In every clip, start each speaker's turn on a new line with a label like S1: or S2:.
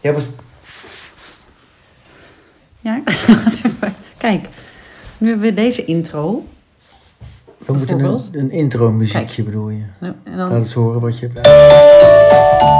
S1: Ja, maar...
S2: Ja, wacht even. kijk. Nu hebben we deze intro.
S1: We moeten
S2: Bijvoorbeeld?
S1: een, een intro muziekje
S2: Kijk.
S1: bedoel je.
S2: En
S1: Laat
S2: dan,
S1: eens horen wat je hebt.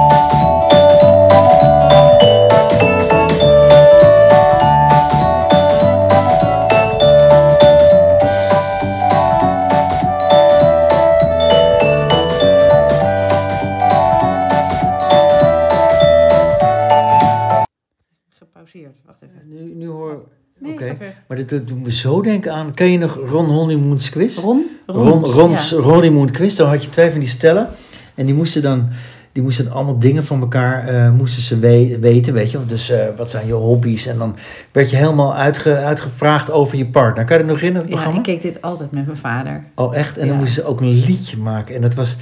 S2: gepauzeerd. Wacht even.
S1: Nu, nu hoor...
S2: Nee,
S1: Oké.
S2: gaat weg.
S1: Maar dit doet doet me zo denken aan... Ken je nog Ron Honeymoon's Quiz?
S2: Ron?
S1: Ron,
S2: Rons,
S1: Ron's eh,
S2: ja.
S1: Honeymoon Quiz. Dan had je twee van die stellen. En die moesten dan... Die moesten allemaal dingen van elkaar eh, moesten ze we- weten, weet je. Dus eh, wat zijn je hobby's? En dan werd je helemaal uitge- uitgevraagd over je partner. Kan je dat nog herinneren, het
S2: Ja,
S1: programma?
S2: ik keek dit altijd met mijn vader.
S1: Oh, echt? En dan
S2: Ja.
S1: moesten ze ook een liedje maken. En dat was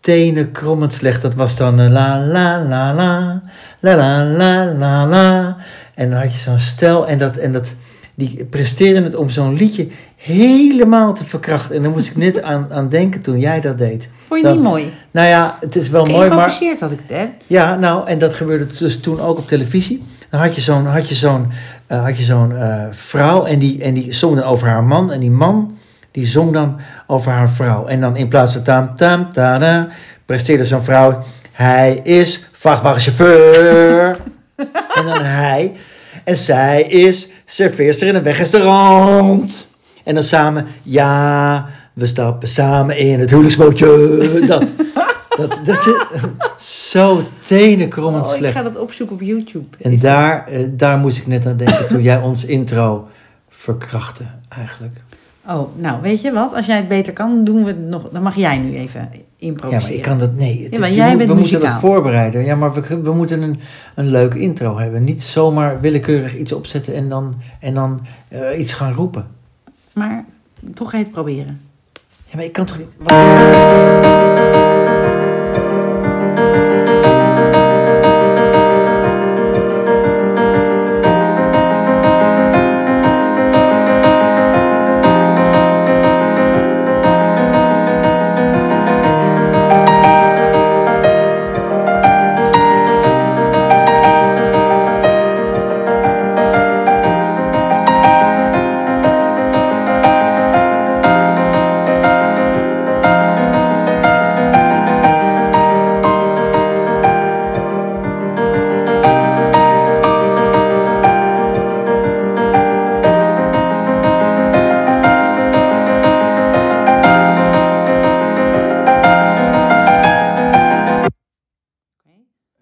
S1: tenen krommend slecht. Dat was dan eh, la la la la, la la la la la. En dan had je zo'n stel en dat... En dat die presteerden het om zo'n liedje helemaal te verkrachten. En daar moest ik net aan, aan denken toen jij dat deed.
S2: Vond je
S1: Dat-
S2: niet mooi?
S1: Nou ja, het is wel mooi, maar...
S2: Geïmproviseerd had ik het, hè?
S1: Ja, nou, en dat gebeurde dus toen ook op televisie. Dan had je zo'n had je zo'n eh, had je zo'n eh, vrouw en die, en die zong dan over haar man. En die man die zong dan over haar vrouw. En dan in plaats van tam tam tada, presteerde zo'n vrouw. Hij is vrachtwagenchauffeur. en dan hij. En zij is serveerster in een wegrestaurant. En dan samen, ja, we stappen samen in het huwelijksbootje. Dat, dat, dat is zo tenenkrommend
S2: Oh, ik
S1: slecht.
S2: ga dat opzoeken op YouTube.
S1: En daar, eh, daar moest ik net aan denken toen jij ons intro verkrachtte eigenlijk.
S2: Oh, nou, weet je wat? Als jij het beter kan, doen we het nog. Dan mag jij nu even
S1: Ja,
S2: improviseren.
S1: maar ik kan dat, nee. het
S2: Oh, Ja, maar
S1: is- je
S2: jij
S1: moet-
S2: bent
S1: we moeten dat
S2: muzikaal.
S1: voorbereiden. Ja, maar we, we moeten een, een leuke intro hebben. Niet zomaar willekeurig iets opzetten en dan, en dan eh, iets gaan roepen.
S2: Maar toch ga je het proberen.
S1: Ja, maar ik kan toch niet...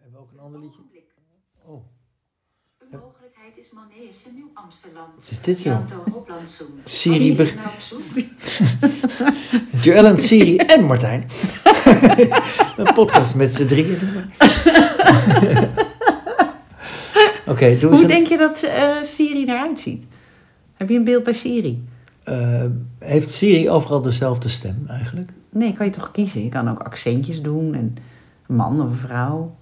S1: Hebben we ook een ander liedje? Oh,
S3: Een mogelijkheid is Manees in Nieuw-Amsterdam.
S1: wat is dit joh?
S3: Janto Hoplandsoen.
S1: Siri
S3: Als je
S1: beg-
S3: nou op zoek-
S1: Joellen, Siri en Martijn. een podcast met z'n drieën. Oké, doe eens
S2: Hoe
S1: een...
S2: denk je dat eh, Siri eruit ziet? Heb je een beeld bij Siri?
S1: Eh, heeft Siri overal dezelfde stem eigenlijk?
S2: Nee, kan je toch kiezen? Je kan ook accentjes doen en een man of een vrouw,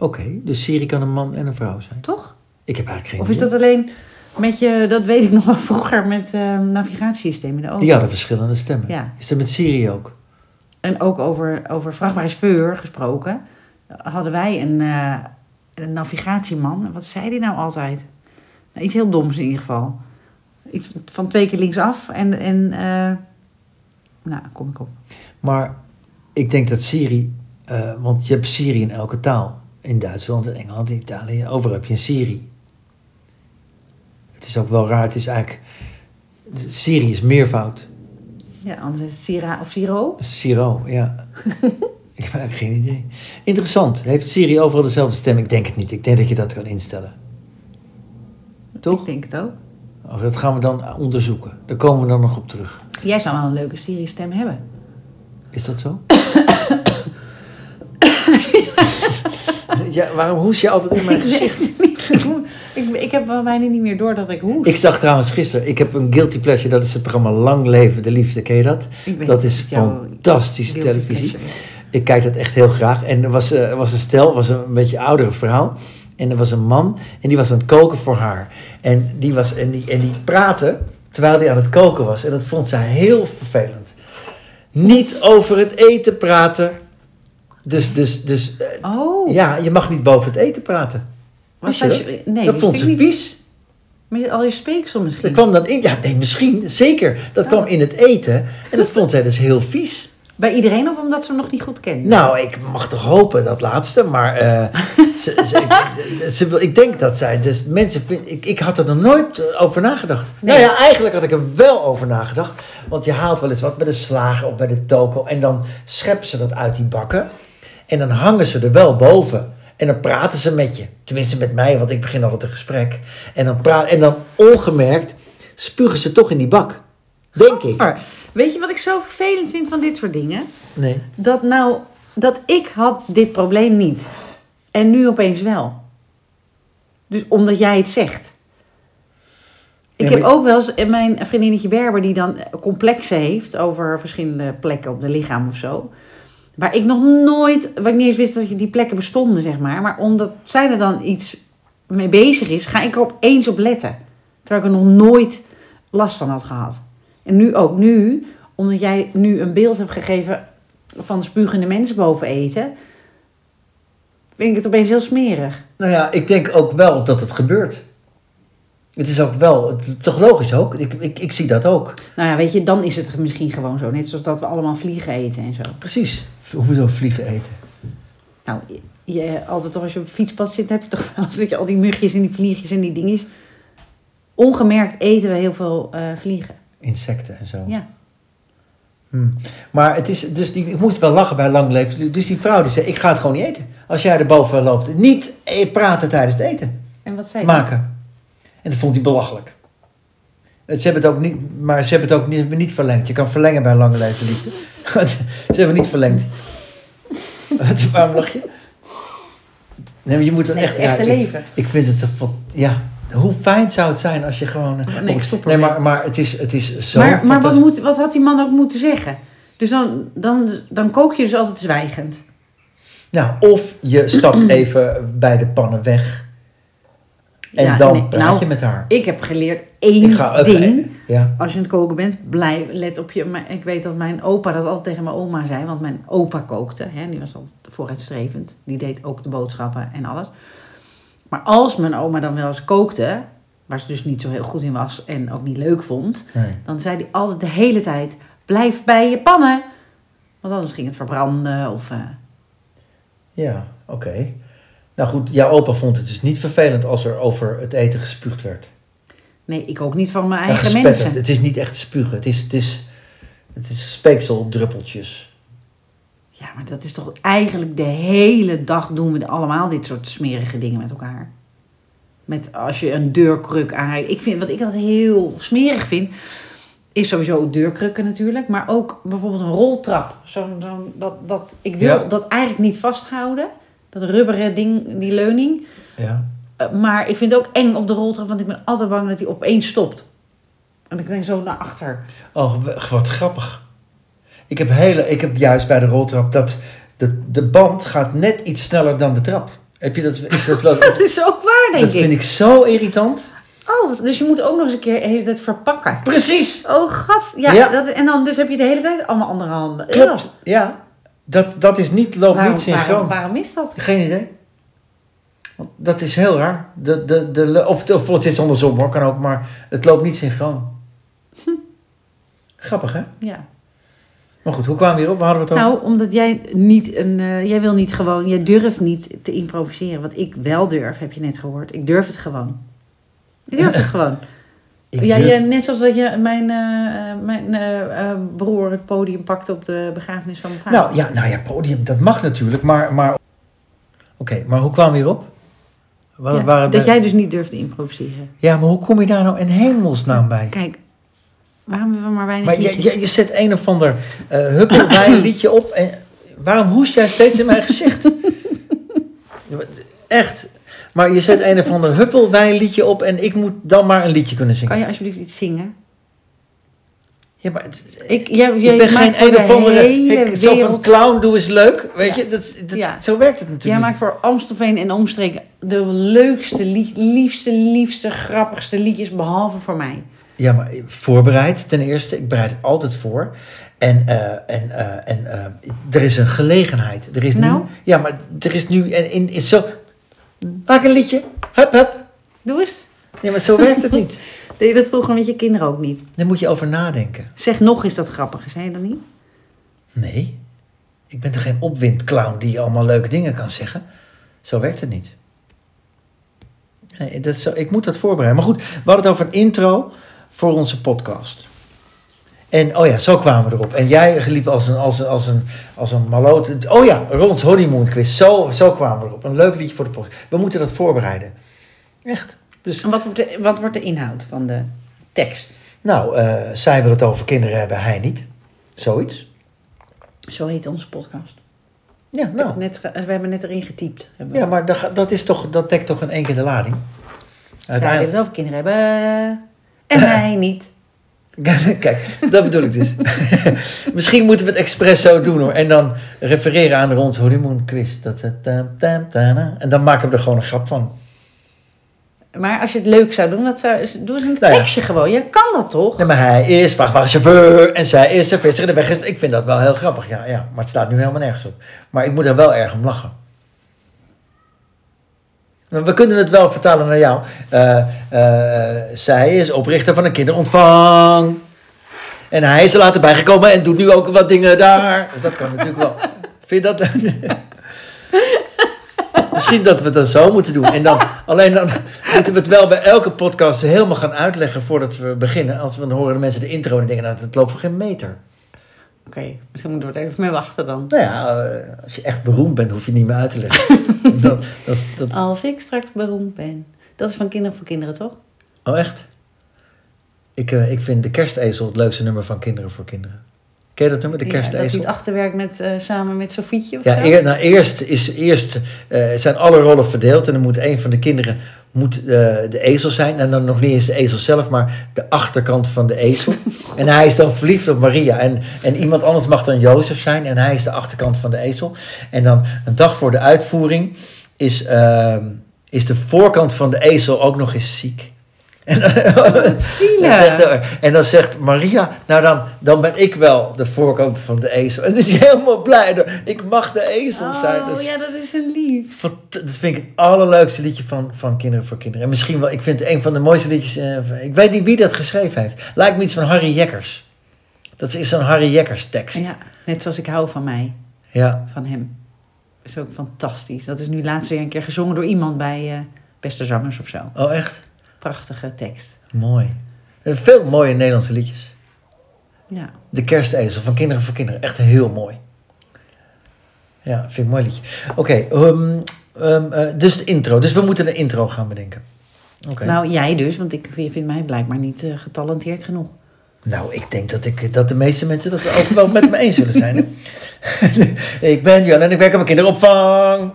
S1: Oké, dus Siri kan een man en een vrouw zijn.
S2: toch?
S1: Ik heb eigenlijk geen
S2: Of is
S1: idee.
S2: dat alleen met je, dat weet ik nog wel vroeger, met eh, navigatiesystemen in de auto?
S1: Die hadden verschillende stemmen.
S2: Ja.
S1: Is dat met Siri ook?
S2: En ook over, over vrachtwagenchauffeur gesproken, hadden wij een, eh, een navigatieman. Wat zei die nou altijd? Nou, iets heel doms in ieder geval. Iets van twee keer linksaf en, en eh, nou, kom ik op.
S1: Maar ik denk dat Siri... eh, want je hebt Siri in elke taal. In Duitsland, in Engeland, in Italië. Overal heb je een Siri. Het is ook wel raar. Het is eigenlijk... Siri is meervoud.
S2: Ja, anders is het Sira of Siro.
S1: Siro, ja. ik heb eigenlijk geen idee. Interessant. Heeft Siri overal dezelfde stem? Ik denk het niet. Ik denk dat je dat kan instellen. Toch?
S2: Ik denk het ook.
S1: Oh, dat gaan we dan onderzoeken. Daar komen we dan nog op terug.
S2: Jij zou wel een leuke Siri-stem hebben.
S1: Is dat zo? ja, waarom hoes je altijd in mijn gezicht?
S2: ik, ik heb wel bijna niet meer door dat ik hoest.
S1: Ik zag trouwens gisteren, ik heb een guilty pleasure, dat is het programma Lang Leven de Liefde, ken je dat?
S2: Ik weet
S1: dat
S2: niet
S1: is
S2: wat jouw
S1: fantastische
S2: guilty
S1: televisie.
S2: pleasure
S1: Ik kijk dat echt heel graag. En er was, eh, was een stel, was een beetje oudere vrouw. En er was een man en die was aan het koken voor haar. En die, was, en die, en die praatte terwijl hij aan het koken was. En dat vond zij heel vervelend. Niet over het eten praten. Dus, dus, dus eh,
S2: Oh,
S1: ja, je mag niet boven het eten praten.
S2: wat
S1: Wist je
S2: als
S1: dat?
S2: je- nee,
S1: dat
S2: wist
S1: vond
S2: ik
S1: ze
S2: niet.
S1: vies.
S2: Met al je speeksel
S1: Dat
S2: misschien.
S1: kwam dan in, ja, nee, misschien, zeker. Dat kwam in het eten en dat vond zij dus heel vies.
S2: Bij iedereen of omdat ze hem nog niet goed kenden?
S1: Nou, ik mag toch hopen dat laatste, maar eh, ze, ze- ik- ze wil- ik denk dat zij, dus mensen, vind- ik, ik had er nog nooit eh, over nagedacht.
S2: Nee.
S1: Nou ja, eigenlijk had ik er wel over nagedacht, want je haalt wel eens wat bij de slager of bij de toko en dan scheppen ze dat uit die bakken en dan hangen ze er wel boven. En dan praten ze met je. Tenminste met mij, want ik begin altijd een gesprek. En dan, praat, en dan ongemerkt spugen ze toch in die bak. Denk ik.
S2: Gadver. Weet je wat ik zo vervelend vind van dit soort dingen?
S1: Nee.
S2: Dat nou, dat ik had dit probleem niet. En nu opeens wel. Dus omdat jij het zegt. Ik
S1: Ja,
S2: heb
S1: maar-
S2: ook wel eens eh, mijn vriendinnetje Berber die dan complexen heeft over verschillende plekken op de lichaam of zo. Waar ik nog nooit, waar ik niet eens wist dat je die plekken bestonden, zeg maar. Maar omdat zij er dan iets mee bezig is, ga ik er opeens op letten. Terwijl ik er nog nooit last van had gehad. En nu ook nu, omdat jij nu een beeld hebt gegeven van spugende mensen boven eten, vind ik het opeens heel smerig.
S1: Nou ja, ik denk ook wel dat het gebeurt. Het is ook wel, het is toch logisch ook? Ik, ik, ik zie dat ook.
S2: Nou ja, weet je, dan is het misschien gewoon zo. Net zoals dat we allemaal vliegen eten en zo.
S1: Precies. Hoezo vliegen eten?
S2: Nou, je, altijd toch als je op het fietspad zit, heb je toch wel eens dat je al die mugjes en die vliegjes en die dingetjes. Ongemerkt eten we heel veel eh, vliegen.
S1: Insecten en zo.
S2: Ja.
S1: Hmm. Maar het is, dus die, ik moest wel lachen bij lang leven. Dus die vrouw die zei, ik ga het gewoon niet eten. Als jij erboven loopt, niet eh, praten tijdens het eten.
S2: En wat zei je?
S1: Maken. En dat vond hij belachelijk. Het- Ze hebben het ook niet, maar ze hebben het ook niet, niet verlengd. Je kan verlengen bij lange leven liefde. Het- ze hebben niet verlengd. Wat, Waarom lach je? Nee, maar je moet het
S2: Nee,
S1: echt
S2: het echte
S1: raken.
S2: leven.
S1: Ik vind het een fan- ja. Hoe fijn zou het zijn als je gewoon.
S2: Oh, Nee, ik stop
S1: Nee,
S2: ermee.
S1: maar, maar het is, het is zo.
S2: maar maar wat,
S1: fantastisch.
S2: moet, wat had die man ook moeten zeggen? Dus dan, dan, dan kook je dus altijd zwijgend.
S1: Nou, of je stapt even bij de pannen weg en
S2: Ja,
S1: dan
S2: nee,
S1: praat
S2: nou,
S1: je met haar.
S2: Ik heb geleerd één
S1: Ik ga even
S2: ding.
S1: eten. Ja.
S2: Als je aan het koken bent, blijf, let op je. maar Ik weet dat mijn opa dat altijd tegen mijn oma zei. Want mijn opa kookte. Hè, die was altijd vooruitstrevend. Die deed ook de boodschappen en alles. Maar als mijn oma dan wel eens kookte. Waar ze dus niet zo heel goed in was en ook niet leuk vond.
S1: Nee.
S2: Dan zei hij altijd de hele tijd: blijf bij je pannen. Want anders ging het verbranden. Of, eh,
S1: Ja, oké. Nou goed, jouw opa vond het dus niet vervelend als er over het eten gespuugd werd.
S2: nee, ik ook niet van mijn
S1: Ja,
S2: eigen
S1: gespetterd.
S2: mensen.
S1: Het is niet echt spugen, het is, het is, het is speekseldruppeltjes.
S2: Ja, maar dat is toch eigenlijk de hele dag doen we allemaal dit soort smerige dingen met elkaar. Met als je een deurkruk aanrijdt. Ik vind, wat ik altijd heel smerig vind, is sowieso deurkrukken natuurlijk. Maar ook bijvoorbeeld een roltrap. Zo'n zo'n- dat, dat, ik wil
S1: Ja.
S2: dat eigenlijk niet vasthouden. Dat rubberen ding, die leuning.
S1: Ja.
S2: Eh, maar ik vind het ook eng op de roltrap, want ik ben altijd bang dat die opeens stopt. En ik denk zo naar achter.
S1: Oh, w- wat grappig. Ik heb, hele, ik heb juist bij de roltrap dat de, de band gaat net iets sneller dan de trap. Heb je dat? Is dat, wel-
S2: Dat is ook waar, denk
S1: dat
S2: ik.
S1: vind ik zo irritant.
S2: Oh, wat- dus je moet ook nog eens een keer de hele tijd verpakken.
S1: Precies!
S2: Oh, gat. Ja,
S1: Ja.
S2: Dat, en dan dus heb je de hele tijd allemaal andere handen.
S1: Klopt.
S2: Ugh.
S1: Ja, dat, dat is niet, loopt
S2: Waarom,
S1: niet synchroon.
S2: waarom, waarom is dat?
S1: Geen idee. Want dat is heel raar. De, de, de, of, of het is andersom hoor, kan ook, maar het loopt niet synchroon.
S2: Hm.
S1: Grappig hè?
S2: Ja.
S1: Maar goed, hoe kwamen we hierop? Waar hadden we het over?
S2: Nou, omdat jij niet een... eh, jij wil niet gewoon... Jij durft niet te improviseren. Wat ik wel durf, heb je net gehoord. Ik durf het gewoon. Ik durf het gewoon.
S1: Ik
S2: ja,
S1: durf-
S2: je, net zoals dat je mijn, eh, eh, mijn eh, eh, broer het podium pakte op de begrafenis van mijn vader.
S1: nou, ja, nou ja, podium, dat mag natuurlijk, maar... maar... Oké, maar hoe kwamen we hierop? Waar,
S2: Ja,
S1: waar-
S2: dat jij dus niet durft te improviseren.
S1: Ja, maar hoe kom je daar nou in hemelsnaam bij?
S2: Kijk, waarom hebben we maar weinig
S1: Maar je,
S2: liedjes?
S1: je, je zet een of ander eh huppelwijnliedje op. En waarom hoest jij steeds in mijn gezicht? Ja, maar Echt. Maar je zet een of ander huppelwijnliedje op en ik moet dan maar een liedje kunnen zingen.
S2: Kan je alsjeblieft iets zingen?
S1: Ja, maar het-
S2: Ik, jij, jij
S1: ik ben
S2: maakt
S1: geen een
S2: voor
S1: of
S2: de
S1: andere...
S2: hele
S1: Ik, zo van
S2: wereld-
S1: clown doe is leuk. Weet
S2: Ja.
S1: je, dat, dat,
S2: Ja.
S1: zo werkt het
S2: Jij
S1: natuurlijk.
S2: maakt voor Amstelveen en omstreken de leukste, lief- liefste, liefste, grappigste liedjes, behalve voor mij.
S1: Ja, maar voorbereid ten eerste. Ik bereid het altijd voor. En, eh, en, eh, en eh, er is een gelegenheid. Er is
S2: Nou?
S1: nu, ja, maar er is nu. En, in, in, zo, maak een liedje. Hup, hup.
S2: Doe eens.
S1: Nee, maar zo werkt het niet.
S2: Deed je dat vroeger met je kinderen ook niet?
S1: Daar moet je over nadenken.
S2: Zeg nog eens dat grappig, zei je dat niet?
S1: Nee, ik ben toch geen opwindclown die allemaal leuke dingen kan zeggen? Zo werkt het niet. Nee, dat is zo, ik moet dat voorbereiden. Maar goed, we hadden het over een intro voor onze podcast. En oh ja, zo kwamen we erop. En jij liep als een, als een, als een, als een maloot. Oh ja, Rons honeymoon quiz. Zo, zo kwamen we erop. Een leuk liedje voor de podcast. We moeten dat voorbereiden. Echt. Dus
S2: En wat wordt de, wat wordt de inhoud van de tekst?
S1: nou, eh, zij wil het over kinderen hebben, hij niet. Zoiets.
S2: Zo heet onze podcast.
S1: Ja, nou.
S2: Net, ge- we hebben net erin getypt. Hebben we.
S1: Ja, maar dat, ga- dat, is toch, dat dekt toch in één keer de lading?
S2: Zij willen
S1: Uiteindelijk.
S2: zelf kinderen hebben. En wij niet.
S1: Kijk, dat bedoel ik dus. Misschien moeten we het expres zo doen hoor. En dan refereren aan de Rond Honeymoon quiz. Dat, het tam, tam, tana. en dan maken we er gewoon een grap van.
S2: Maar als je het leuk zou doen, wat zou, doe eens een
S1: Nou ja.
S2: tekstje gewoon. Je kan dat toch?
S1: Nee, maar hij is vrachtwagenchauffeur en zij is een visser. en De weg is... Ik vind dat wel heel grappig, ja, ja. Maar het staat nu helemaal nergens op. Maar ik moet er wel erg om lachen. Maar We kunnen het wel vertalen naar jou. Eh, eh, zij is oprichter van een kinderontvang. En hij is er later bijgekomen en doet nu ook wat dingen daar. Dat kan natuurlijk wel. Vind je dat... Misschien dat we het dan zo moeten doen. En dan, alleen dan moeten we het wel bij elke podcast helemaal gaan uitleggen voordat we beginnen. Als we dan horen de mensen de intro en denken, nou, het loopt voor geen meter.
S2: Oké, misschien moeten we er even mee wachten dan.
S1: Nou ja, eh, als je echt beroemd bent, hoef je het niet meer uit te leggen. dat, dat, is- dat,
S2: Als ik straks beroemd ben. Dat is van Kinderen voor Kinderen, toch?
S1: oh, echt? Ik, eh, ik vind De Kerstezel het leukste nummer van Kinderen voor Kinderen. Ken je dat nummer, De
S2: Ja, dat
S1: Kerstezel?
S2: niet achterwerk met, eh, samen met Sofietje of
S1: Ja,
S2: zo?
S1: eer- nou, eerst, is, eerst eh, zijn alle rollen verdeeld en dan moet een van de kinderen moet, eh, de ezel zijn. En dan nog niet eens de ezel zelf, maar de achterkant van de ezel. en hij is dan verliefd op Maria. En, en iemand anders mag dan Jozef zijn en hij is de achterkant van de ezel. En dan een dag voor de uitvoering is, ehm, is de voorkant van de ezel ook nog eens ziek. En, dan
S2: zielig.
S1: zegt, eh, er- en dan zegt Maria, nou dan, dan ben ik wel de voorkant van de ezel. En dan is hij helemaal blij. Ik mag de ezel zijn.
S2: Oh,
S1: Dat, is
S2: ja, dat is een lief.
S1: fant- dat vind ik het allerleukste liedje van, van Kinderen voor Kinderen. En misschien wel, ik vind het een van de mooiste liedjes. eh, ik weet niet wie dat geschreven heeft. Lijkt me iets van Harry Jekkers. Dat is zo'n Harry Jekkers tekst. Ja.
S2: Ja, net zoals ik hou van mij,
S1: Ja.
S2: van hem. Dat is ook fantastisch. Dat is nu laatst weer een keer gezongen door iemand bij eh Beste Zangers of zo.
S1: Oh echt?
S2: Prachtige tekst.
S1: Mooi. Eh, Veel mooie Nederlandse liedjes.
S2: Ja.
S1: De kerstezel van Kinderen voor Kinderen. Echt heel mooi. Ja, vind ik een mooi liedje. Oké, ehm, ehm, eh, dus de intro. Dus we moeten een intro gaan bedenken. Oké. Nou.
S2: Nou, jij dus, want ik, je vindt mij blijkbaar niet eh, getalenteerd genoeg.
S1: Nou, ik denk dat, ik, dat de meeste mensen dat ook wel met me eens zullen zijn. hè? ik ben Jan en ik werk op een kinderopvang.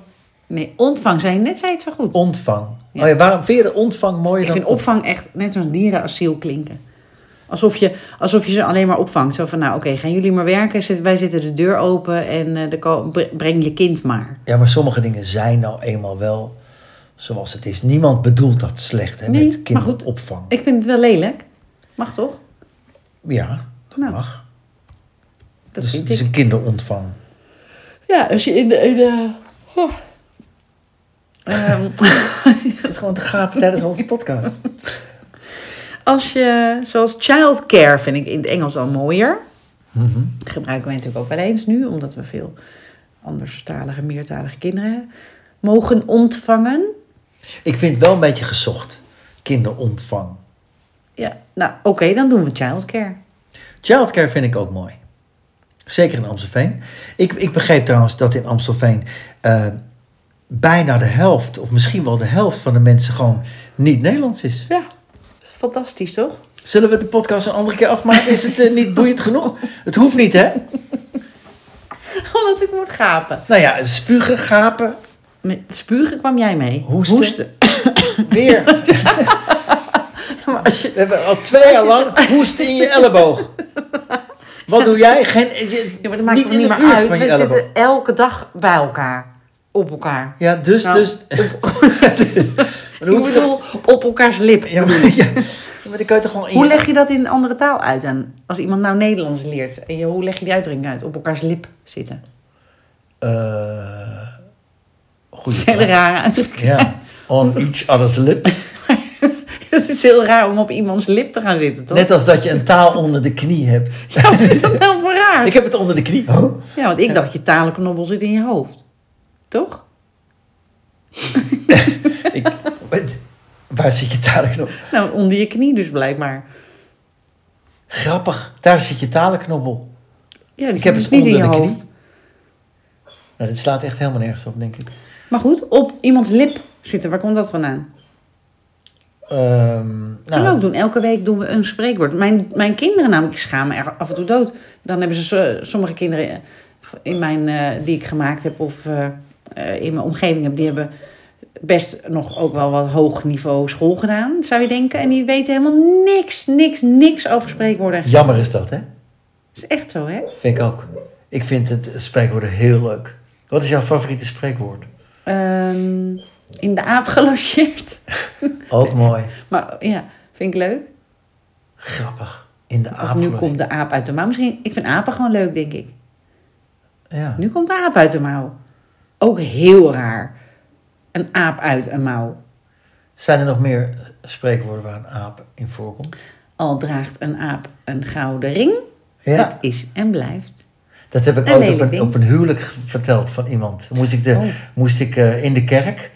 S2: Nee, ontvang, zei je net, zei je het zo goed.
S1: Ontvang.
S2: Ja.
S1: Oh ja, waarom vind je de ontvang mooier
S2: Ik
S1: dan
S2: vind opvang echt net zoals dierenasiel klinken. Alsof je, alsof je ze alleen maar opvangt. Zo van, nou oké, gaan jullie maar werken. Zet- wij zetten de deur open en eh, de ko- bre- breng je kind maar.
S1: Ja, maar sommige dingen zijn nou eenmaal wel zoals het is. Niemand bedoelt dat slecht hè,
S2: Nee, maar
S1: met
S2: goed.
S1: kinderopvang.
S2: Ik vind het wel lelijk. Mag toch?
S1: Ja, dat
S2: Nou,
S1: mag.
S2: Dat
S1: dus
S2: vind
S1: het is
S2: ik.
S1: een kinderontvang.
S2: Ja, als je in de... In de oh. Ehm,
S1: Ik zit gewoon te gapen tijdens onze podcast.
S2: als je, zoals childcare vind ik in het Engels al mooier.
S1: Mhm.
S2: Gebruiken wij natuurlijk ook wel eens nu, omdat we veel anderstalige, meertalige kinderen mogen ontvangen.
S1: Ik vind wel een beetje gezocht. Kinderontvang.
S2: Ja, nou oké, dan doen we childcare.
S1: Childcare vind ik ook mooi. Zeker in Amstelveen. Ik, ik begreep trouwens dat in Amstelveen eh, bijna de helft, of misschien wel de helft van de mensen gewoon niet Nederlands is.
S2: Ja, fantastisch toch?
S1: Zullen we de podcast een andere keer afmaken? Is het eh, niet boeiend genoeg? Het hoeft niet, hè?
S2: Omdat ik moet gapen.
S1: Nou ja, spugen, gapen,
S2: Met spugen kwam jij mee.
S1: Hoesten. weer. We hebben al twee jaar lang hoest in je elleboog. Wat doe jij? Geen, je-
S2: Ja, maar dat maakt
S1: niet
S2: toch
S1: in
S2: niet
S1: de
S2: meer
S1: buurt
S2: uit.
S1: van je
S2: We
S1: elleboog.
S2: zitten elke dag bij elkaar. Op elkaar.
S1: Ja, dus,
S2: Nou,
S1: dus. maar dan
S2: Ik
S1: hoef je toch-
S2: bedoel, op elkaars lip.
S1: Ja, maar, ja, maar die kan je toch gewoon in
S2: Hoe
S1: je-
S2: leg je dat in een andere taal uit dan? Als iemand nou Nederlands leert, en je- hoe leg je die uitdrukking uit? Op elkaars lip zitten.
S1: Eh,
S2: Dat
S1: goeie
S2: is een hele
S1: vraag.
S2: rare uitdrukking.
S1: Ja, on each other's lip.
S2: Dat is heel raar om op iemands lip te gaan zitten, toch?
S1: Net als dat je een taal onder de knie hebt. Oh,
S2: Ja, wat is dat nou voor raar?
S1: Ik heb het onder de knie. Huh?
S2: Ja, want ik dacht, je talenknobbel zit in je hoofd. Toch?
S1: Ik, wat? waar zit je talenknop?
S2: Nou, onder je knie dus blijkbaar.
S1: Grappig, daar zit je talenknobbel.
S2: Ja, die
S1: Ik heb
S2: zit dus
S1: het
S2: niet in
S1: onder
S2: je
S1: de knie.
S2: hoofd.
S1: Nou, dit slaat echt helemaal nergens op, denk ik.
S2: Maar goed, op iemands lip zitten, waar komt dat vandaan?
S1: Ehm,
S2: Dat gaan we ook
S1: nou,
S2: doen. Elke week doen we een spreekwoord. Mijn, mijn kinderen namelijk schamen er af en toe dood. Dan hebben ze zo- sommige kinderen eh, in mijn, eh, die ik gemaakt heb of eh, eh, in mijn omgeving heb, die hebben best nog ook wel wat hoog niveau school gedaan, zou je denken. En die weten helemaal niks, niks, niks over spreekwoorden. Dat
S1: jammer is dat, hè?
S2: is echt zo, hè?
S1: Vind ik ook. Ik vind het spreekwoord heel leuk. Wat is jouw favoriete spreekwoord?
S2: Ehm, in de aap gelogeerd.
S1: Ook mooi.
S2: Maar ja, vind ik leuk.
S1: Grappig. In de
S2: Of nu
S1: apen.
S2: komt de aap uit de mouw. Misschien, ik vind apen gewoon leuk, denk ik.
S1: Ja.
S2: Nu komt de aap uit de mouw. Ook heel raar. Een aap uit een mouw.
S1: Zijn er nog meer spreekwoorden waar een aap in voorkomt?
S2: Al draagt een aap een gouden ring.
S1: Ja,
S2: Dat is en blijft.
S1: dat heb ik
S2: Een
S1: ooit op
S2: lelijk
S1: een,
S2: ding.
S1: op een huwelijk ge- verteld van iemand. Moest ik, de,
S2: Oh.
S1: moest ik eh, in de kerk,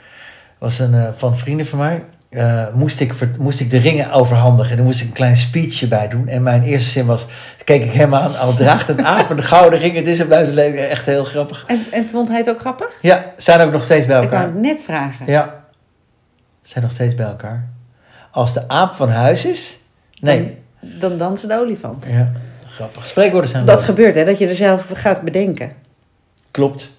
S1: was een, eh, van vrienden van mij, eh, moest, ik, ver- moest ik de ringen overhandigen. En daar moest ik een klein speechje bij doen. En mijn eerste zin was, toen keek ik hem aan, al draagt een aap een gouden ring. Het is en blijft lelijk. Echt heel grappig.
S2: En, en vond hij het ook grappig?
S1: Ja, zijn ook nog steeds bij
S2: Ik wou
S1: elkaar.
S2: het net vragen.
S1: Ja, zijn nog steeds bij elkaar. Als de aap van huis is, nee.
S2: Dan dansen de olifanten.
S1: Ja, grappig. Spreekwoorden zijn
S2: Dat
S1: leuk.
S2: gebeurt, hè? Dat je er zelf gaat bedenken.
S1: Klopt.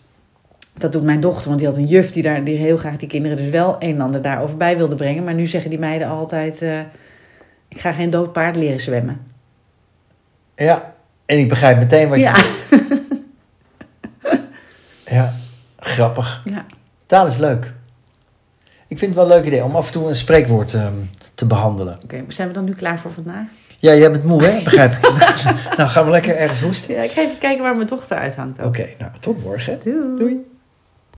S2: Dat doet mijn dochter, want die had een juf die, daar, die heel graag die kinderen dus wel een en ander daarover bij wilde brengen. Maar nu zeggen die meiden altijd, eh, ik ga geen dood paard leren zwemmen.
S1: Ja, en ik begrijp meteen wat je
S2: Ja.
S1: Ja, grappig.
S2: ja,
S1: Taal is leuk. Ik vind het wel een leuk idee om af en toe een spreekwoord ehm, te behandelen.
S2: oké. zijn we dan nu klaar voor vandaag?
S1: Ja, jij bent moe, hè? Begrijp ik. nou, gaan we lekker ergens hoesten.
S2: Ja, ik ga even kijken waar mijn dochter uithangt
S1: Oké,
S2: ook.
S1: nou, tot morgen.
S2: Doei. Doei.